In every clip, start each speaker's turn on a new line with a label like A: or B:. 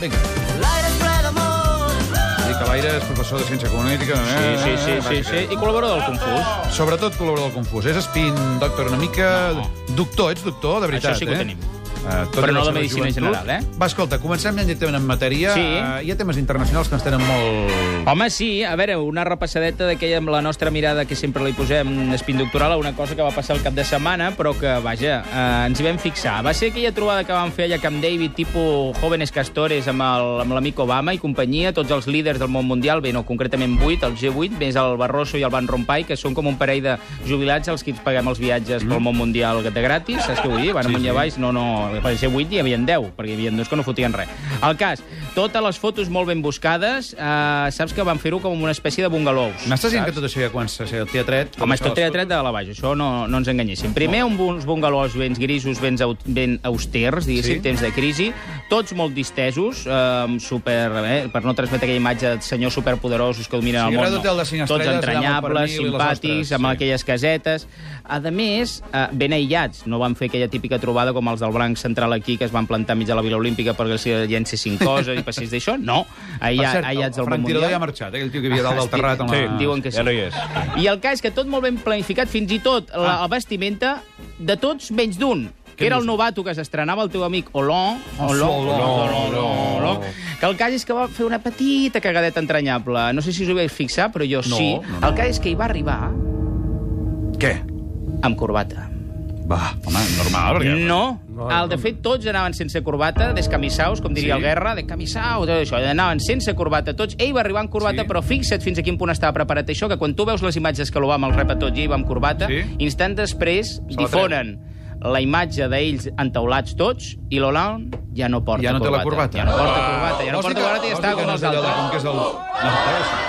A: Vinga. Vull dir que l'Aire és professor de ciència econòmica...
B: Sí, sí, sí, sí,
A: bàsica.
B: sí. I col·laborador del Confús.
A: Sobretot col·laborador del Confús. És espín, doctor una mica...
B: No.
A: Doctor, ets doctor, de veritat,
B: Això sí que ho
A: eh?
B: tenim.
A: Eh, tot
B: Però
A: i la
B: no de
A: seva
B: medicina
A: joventut.
B: general, eh?
A: Va, escolta, comencem ja directament en matèria.
B: Sí. Oh.
A: Eh, hi ha temes internacionals que ens tenen molt...
B: Home, sí, a veure, una repassadeta d'aquella amb la nostra mirada que sempre li posem espin doctoral a una cosa que va passar el cap de setmana, però que, vaja, eh, ens hi vam fixar. Va ser aquella trobada que van fer allà a Camp David, tipus jóvenes castores amb el- amb l'amic Obama i companyia, tots els líders del món mundial, bé, no, concretament 8, el G8, més el Barroso i el Van Rompuy, que són com un parell de jubilats als que ens paguem els viatges pel món mundial de gratis, saps què vull dir? Van
A: Sí,
B: amunt i
A: sí.
B: avall Valls, no, no, per ser 8 hi havia 10, perquè hi havia dos que no fotien res. El cas, totes les fotos molt ben buscades, eh, saps que van fer-ho com una espècie de bungalows.
A: M'estàs dient
B: saps?
A: que tot això ja comença a ser el teatret?
B: Home, és tot teatret de la baix, això no, no ens enganyéssim. Primer, un, uns bungalows ben grisos, ben, au- ben austers, diguéssim,
A: Sí.
B: sí. temps de crisi, tots molt distesos, eh, super, eh, per no transmetre aquella imatge de senyors superpoderosos que dominen
A: Sí,
B: el món.
A: Red Hotel de cinc
B: tots
A: estrelles, allà amb el
B: entranyables,
A: pernil i les
B: simpàtics,
A: ostres,
B: amb
A: sí.
B: aquelles casetes. A més, eh, ben aïllats, no van fer aquella típica trobada com els del Branc Central aquí, que es van plantar mig a la Vila Olímpica perquè els llencessin coses i passés d'això. No,
A: Per
B: aïlla,
A: cert, el
B: aïllats del món
A: Frank Tirador
B: mundial.
A: ja ha marxat, eh? aquell tio que hi havia dalt del terrat. Ah. Amb
B: Sí,
A: la...
B: diuen que sí.
C: Ja no hi és.
B: I el cas és que tot molt ben planificat, fins i tot la, la vestimenta de tots menys d'un que era el novato que s'estrenava el teu amic Olon, Olon,
A: Olon,
B: Olon, Olon, que el cas és que va fer una petita cagadeta entranyable. No sé si us ho vau fixar, però jo
A: No,
B: sí.
A: no, no.
B: El cas és que hi va arribar
A: Què?
B: amb corbata.
A: Va, home, normal, Ah, perquè...
B: No. El, de fet, tots anaven sense corbata, descamissaus, com diria
A: Sí.
B: el Guerra, descamissaus, tot això. Anaven sense corbata tots. Ell va arribar amb corbata,
A: Sí.
B: però fixa't fins a quin punt estava preparat això, que quan tu veus les imatges que l'Obama el rep a tot i ell va amb corbata,
A: Sí.
B: instant després
A: la treu.
B: difonen la imatge d'ells entaulats tots i l'Hollande ja no porta
A: Ja no té la
B: corbata.
A: corbata. Ah. Oh,
B: Ja no porta corbata, ja no porta corbata i està com els altres.
A: Com que és el... No,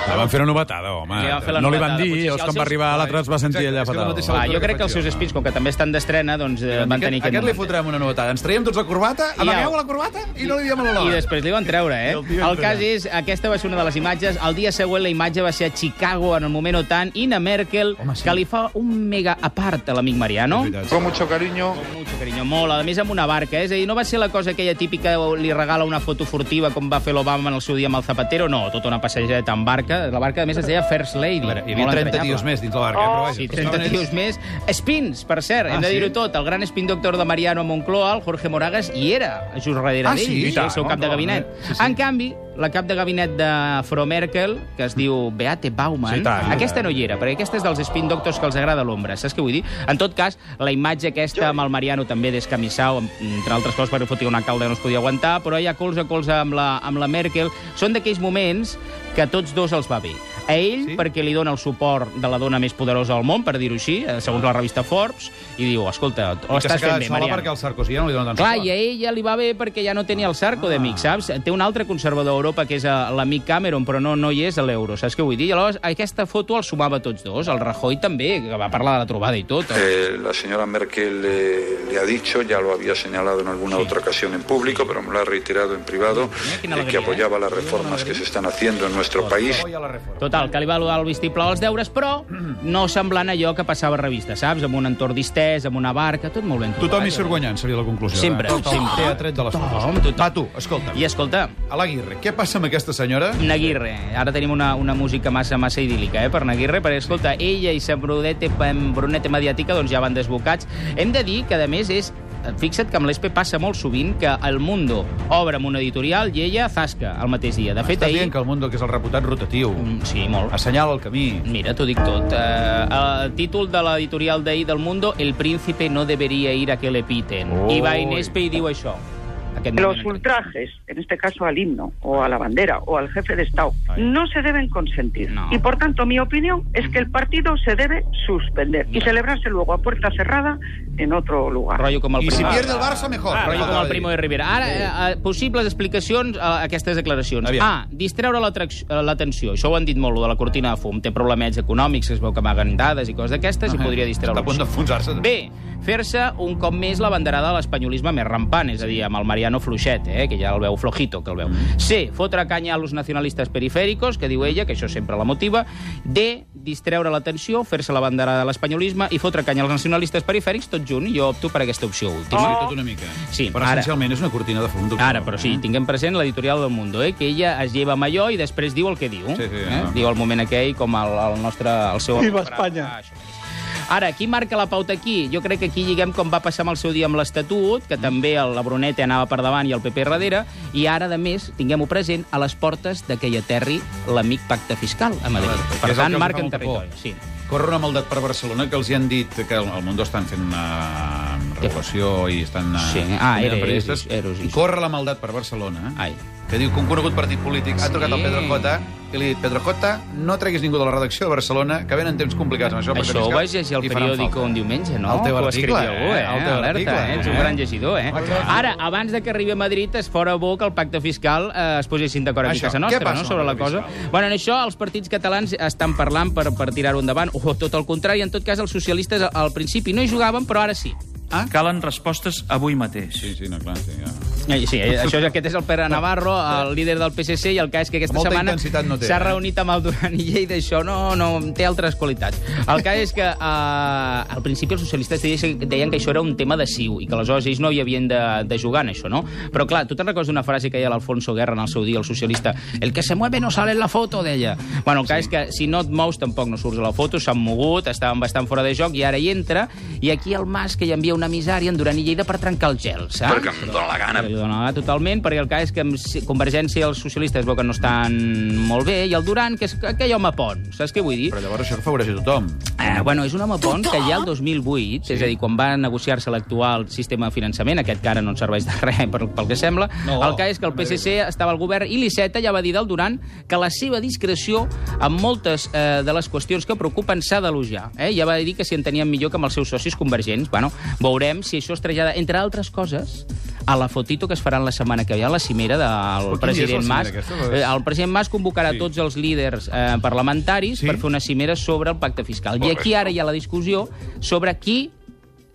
C: La van fer una novetada, home.
B: Li van fer la
C: no li
B: novetada,
C: van dir,
B: potser sí.
C: llavors
B: Els
C: quan va
B: seus-
C: arribar l'altre es va sentir
A: Exacte,
C: allà
A: és que la
C: fatal.
A: mateixa-
B: Va,
A: que
B: jo crec que els seus
A: faig jo.
B: espins, com que també estan d'estrena, doncs eh, van tenir
A: aquest,
B: aquest
A: aquest li
B: moment.
A: fotrem una novetada. Ens traiem tots la corbata,
B: I
A: amagueu
B: au.
A: la corbata i no li diem a l'Olona.
B: I després li van treure, eh?
A: I el tio
B: El
A: entra
B: cas
A: allà.
B: és, aquesta va ser una de les imatges. El dia següent la imatge va ser a Chicago, en el moment OTAN, Ina Merkel,
A: Home, sí.
B: que li fa un mega apart a l'amic Mariano.
A: És veritat.
D: Con mucho cariño.
B: Mucho carinyo, molt. A més, amb una barca, eh? és a dir, no va ser la cosa aquella típica li regala una foto furtiva com va fer l'Obama en el seu dia amb el Zapatero, no, tota una passejeta en barca. La barca, a més, es deia First Lady.
A: A veure, hi havia
B: Molt
A: 30
B: entranyable.
A: tios més dins la barca,
B: Oh,
A: eh? però vaja.
B: Sí,
A: estaven
B: 30
A: ells-
B: tios més. Spins, per cert,
A: Ah,
B: hem de dir-ho
A: sí?
B: tot. El gran spin doctor de Mariano a Moncloa, el Jorge Moragas, hi era, just darrere
A: Ah,
B: d'ell,
A: sí? I tant,
B: el seu cap
A: no,
B: de
A: no,
B: gabinet.
A: sí, sí.
B: En canvi, la cap de gabinet de Frau Merkel, que es diu Beate Baumann,
C: Sí, tant.
B: aquesta no hi era, perquè aquesta és dels spin doctors que els agrada l'ombra, saps què vull dir? En tot cas, la imatge aquesta amb el Mariano també descamissau, amb- entre altres coses perquè fotia una calda que no es podia aguantar, però ella colze a colze amb la, amb la Merkel. Són d'aquells moments que a tots dos els va bé. A ell,
A: Sí?
B: sí? perquè li dona el suport de la dona més poderosa del món, per dir-ho així, eh, segons la revista Forbes, i diu, escolta, ho
A: I que s'ha
B: estàs fent
A: quedat
B: bé,
A: sola
B: Mariano.
A: perquè el Sarkozy ja no li dona tant
B: Clar, i a ell ja li va bé perquè ja no tenia el Sarko d'amic, saps? Té un altre conservador a Europa, que és eh, l'amic Cameron, però no, no hi és a l'euro, saps què vull dir? Llavors, aquesta foto el sumava tots dos, el Rajoy també, que va parlar de la trobada i tot.
E: Eh, la señora Merkel eh, le ha dicho, ya lo había señalado en alguna otra ocasión en público, pero me lo ha reiterado en privado,
B: Mira quina
E: eh, que
B: alegría,
E: apoyaba
B: ¿eh?
E: las reformas que se están haciendo en nuestro país.
A: Oi, a la reforma.
B: Total, que li va al vistiplau als deures, però no semblant allò que passava a revista, saps? Amb un entorn distès, amb una barca, tot molt ben trobat.
A: Tothom hi surt guanyant, seria la conclusió.
B: Sempre,
A: eh? Tothom
B: sempre.
A: Té atret de les
B: Tothom,
A: fotos.
B: tothom.
A: Va, tu, escolta'm.
B: I escolta,
A: A l'Aguirre, què passa amb aquesta senyora?
B: Naguirre. Ara tenim una, una música massa, massa idíl·lica, eh, per Naguirre, perquè, escolta, ella i sa brunete, brunete mediàtica doncs ja van desbocats. Hem de dir que, a més, és Fixa't que amb l'ESPE passa molt sovint que El Mundo obre amb una editorial i ella zasca el mateix dia. De fet,
A: Estàs
B: ahir...
A: dient que el Mundo, que és el reputat rotatiu,
B: Mm, Sí, molt.
A: assenyala el camí.
B: Mira, t'ho dic tot. Uh, el títol de l'editorial d'ahir del Mundo, El príncipe no debería ir a que le piten. I va Inespe i diu això. Aquest
F: Los
B: moment.
F: ultrajes, en este caso al himno o a la bandera o al jefe de Estado,
B: Ay.
F: no se deben consentir.
B: No.
F: Y por tanto, mi opinión es que el partido se debe suspender y
B: Mira.
F: celebrarse luego a puerta cerrada en otro lugar.
B: Rotllo com el
A: I si
B: primo.
A: pierde el Barça, mejor.
B: Ah, rotllo com
A: Acaba
B: el
A: de
B: Primo
A: dir.
B: de Rivera. Ara, eh, eh, possibles explicacions a aquestes declaracions.
A: Aviam.
B: A, distreure l'atrac- eh, l'atenció. Això ho han dit molt, lo de la cortina de fum. Té problemets econòmics, es veu que amaguen dades i coses d'aquestes, i podria
A: Ah, Està
B: distreure
A: a punt d'enfonsar-se.
B: B, fer-se un cop més la banderada de l'espanyolisme més rampant, és a dir, amb el Mariano Fluixet, eh, que ja el veu flojito, que el veu.
A: Mm.
B: C, fotre canya a los nacionalistes perifèricos, que diu ella, que això sempre la motiva. D, distreure l'atenció, fer-se la banderada de l'espanyolisme i fotre canya als nacionalistes perifèrics, tot adjunt, jo opto per aquesta opció
A: Sí,
B: última.
A: tot una mica.
B: Oh. Sí,
A: però
B: ara-
A: essencialment és una cortina de fum. eh? doctor.
B: Ara, però sí, tinguem present l'editorial del Mundo, eh? que ella es lleva amb allò i després diu el que diu.
A: Sí, ah. sí,
B: eh?
A: no.
B: Diu el moment aquell com el, el nostre... El seu
C: Viva Espanya.
B: Ah, això mateix. Ara, qui marca la pauta aquí? Jo crec que aquí lliguem com va passar amb el seu dia amb l'Estatut, que també el- la Bruneta anava per davant i el PP darrere, i ara, de més, tinguem-ho present, a les portes de que hi aterri l'amic pacte fiscal a Madrid.
A: Correcte, que
B: Per
A: és el que
B: tant,
A: els
B: marquen
A: fa molta por.
B: territori. Sí.
A: Corre una maldat per Barcelona que els hi han dit que el el Mundo estan fent una regulació i estan... eh,
B: Sí, ah,
A: convidant
B: era
A: periodistes.
B: Eros, Eros, Eros.
A: Corre la maldat per Barcelona eh?
B: Ai.
A: que diu que un conegut partit polític ha
B: Sí.
A: trucat al Pedro Cota i li ha dit Pedro Cota, no treguis ningú de la redacció de Barcelona, que venen temps complicats amb això. perquè
B: Això ho
A: fiscal
B: vaig llegir al
A: hi faran
B: periòdic
A: falta."
B: un diumenge, no?
A: El teu
B: Que ho
A: article,
B: escrivia algú,
A: eh?
B: eh?
A: El teu
B: Alerta,
A: article,
B: eh? Ets un
A: eh?
B: gran llegidor, eh?
A: Home, clar.
B: Ara, abans de que arribi a Madrid, es fora bo que el pacte fiscal eh, es posessin d'acord aquí
A: Això,
B: a casa
A: què
B: nostra,
A: passa
B: no?,
A: amb
B: sobre
A: el
B: la
A: pacte
B: cosa.
A: fiscal?
B: Bueno, en això els partits catalans estan parlant per, per tirar-ho endavant, o tot el contrari, en tot cas els socialistes al principi no hi jugaven, però ara sí.
D: Calen respostes avui mateix.
A: Sí, sí, no, clar, sí, ja.
B: Eh, Sí, eh, això, aquest és el Pere Navarro, el líder del PSC, i el cas és que aquesta
A: Molta
B: setmana
A: intensitat no té,
B: s'ha
A: eh?
B: reunit amb el Duran i Lleida, això no, no té altres qualitats. El cas és que eh, al principi els socialistes deien, deien que això era un tema de siu i que aleshores ells no hi havien de, de jugar en això, no? Però clar, tu te'n recordes d'una frase que deia l'Alfonso Guerra en el seu dia, el socialista, el que se mueve no sale en la foto, deia. Bueno, el cas sí. és que si no et mous tampoc no surts a la foto, s'han mogut, estaven bastant fora de joc i ara hi entra, i aquí el Mas que hi envia una misària en Duran i Lleida per trencar el gel, saps?
E: Perquè em dóna la gana.
B: Que li dona totalment, perquè el cas és que amb Convergència i els socialistes veu que no estan molt bé, i el Duran, que és aquell home pont, saps què vull dir?
A: Però llavors això afavoreix a tothom.
B: Eh, bueno, és un home pont que ja el 2008, sí. és a dir, quan va negociar-se l'actual sistema de finançament, aquest que ara no ens serveix de res pel, pel que sembla, no,
A: No.
B: el cas és que el PSC estava al govern i l'Iceta ja va dir del Duran que la seva discreció en moltes eh, de les qüestions que preocupen s'ha d'elogiar. Eh? Ja va dir que si en tenien millor que amb els seus socis convergents. Bueno, veurem si això es trasllada, entre altres coses, a la fotito que es faran la setmana que ve a la cimera del
A: Però quin dia és la
B: president Mas.
A: cimera aquesta?
B: Eh, El president Mas convocarà sí. tots els líders eh, parlamentaris
A: Sí?
B: sí? per fer una cimera sobre el pacte fiscal. I
E: Correcte.
B: aquí ara hi ha la discussió sobre qui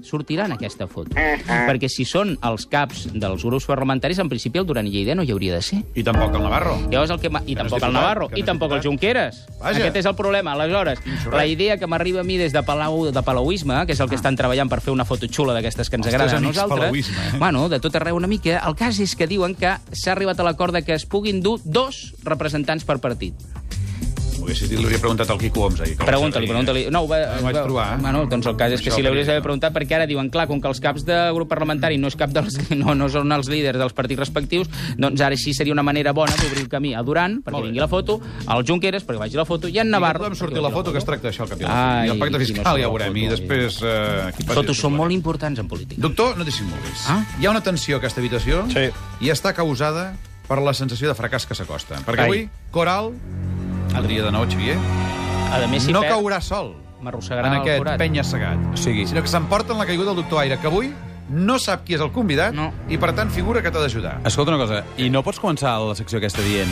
B: sortirà en aquesta foto. Perquè si són els caps dels grups parlamentaris, en principi el Duran i Lleida no hi hauria de ser.
A: I tampoc el Navarro.
B: Llavors el que ma-
A: no
B: I
A: és
B: tampoc el
A: diputat,
B: Navarro,
A: que no
B: i
A: és
B: tampoc el
A: diputat.
B: Junqueras.
A: Vaja.
B: Aquest és el problema. Aleshores,
A: xorrat.
B: la idea que m'arriba a mi des de Palau de Palauisme, que és el que estan treballant per fer una foto xula d'aquestes que ens
A: Els teus
B: agraden a
A: Ah. amics
B: nosaltres...
A: palauisme, eh?
B: Bueno, de tot arreu una mica. El cas és que diuen que s'ha arribat a l'acord de que es puguin dur dos representants per partit.
A: Ho hagués dit, li hauria preguntat al Quico Oms ahir. que
B: Pregunta-li,
A: el sabia.
B: pregunta-li. No, ho va,
A: Ah, ho vaig
B: va-
A: trobar.
B: Bueno, doncs el cas és que
A: Això
B: si l'hauries
A: hauria-
B: d'haver preguntat, perquè ara diuen, clar, com que els caps de grup parlamentari no, és cap dels, no, no són els líders dels partits respectius, doncs ara sí seria una manera bona d'obrir el camí a Duran, perquè
A: Molt bé.
B: vingui la foto, al Junqueras, perquè vagi la foto, i en
A: I
B: Navarro...
A: Podem
B: perquè
A: sortir la
B: vagi
A: foto que es tracta d'això al cap i a la fi.
B: Ai,
A: I el pacte
B: i quina
A: fiscal ja
B: sort,
A: ho veurem. I
B: foto,
A: després... Eh, qui passi
B: Fotos són
A: després.
B: molt importants en política.
A: Doctor, no dissimulis.
B: Ah?
A: Hi ha una tensió a aquesta habitació
C: Sí.
A: i està causada per la sensació de fracàs que s'acosta. Perquè
B: Ai.
A: avui, Coral, el dia de nou, Xavier,
B: A més, si
A: no
B: perd,
A: caurà sol
B: m'arrossegarà
A: en
B: el
A: aquest
B: forat.
A: penya-segat,
C: O sigui-
A: sinó que s'emporta en la caiguda del doctor Aire, que avui no sap qui és el convidat
B: No.
A: i, per tant, figura que t'ha d'ajudar.
C: Escolta una cosa, i no pots començar la secció aquesta dient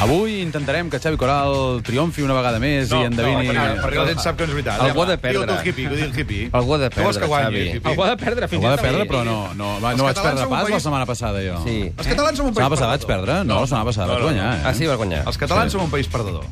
C: avui intentarem que Xavi Coral triomfi una vegada més
A: No,
C: i
B: Eh,
C: endevini...
A: no, perquè- perquè la gent sap que no és veritat.
C: Algú ha de
A: va, Diu-ho tu,
C: perdre.
A: el hippie, diu-ho el hippie.
C: Algú ha de
A: Tu vols que
C: perdre,
A: guanyi,
C: Xavi.
A: el hippie?
B: Algú ha de perdre, fins
C: Ho ha de
B: i tot.
C: perdere, però no, no, va,
A: Els
C: no vaig
A: catalans
C: perdre
A: som un
C: pas la
A: país-
C: setmana passada, jo.
G: Sí.
A: Els catalans som un país
C: La setmana passada vaig
A: perdedor.
C: perdre? No, la setmana passada vaig guanyar. eh?
G: Ah, sí, vas guanyar.
A: Els catalans som un país perdedor.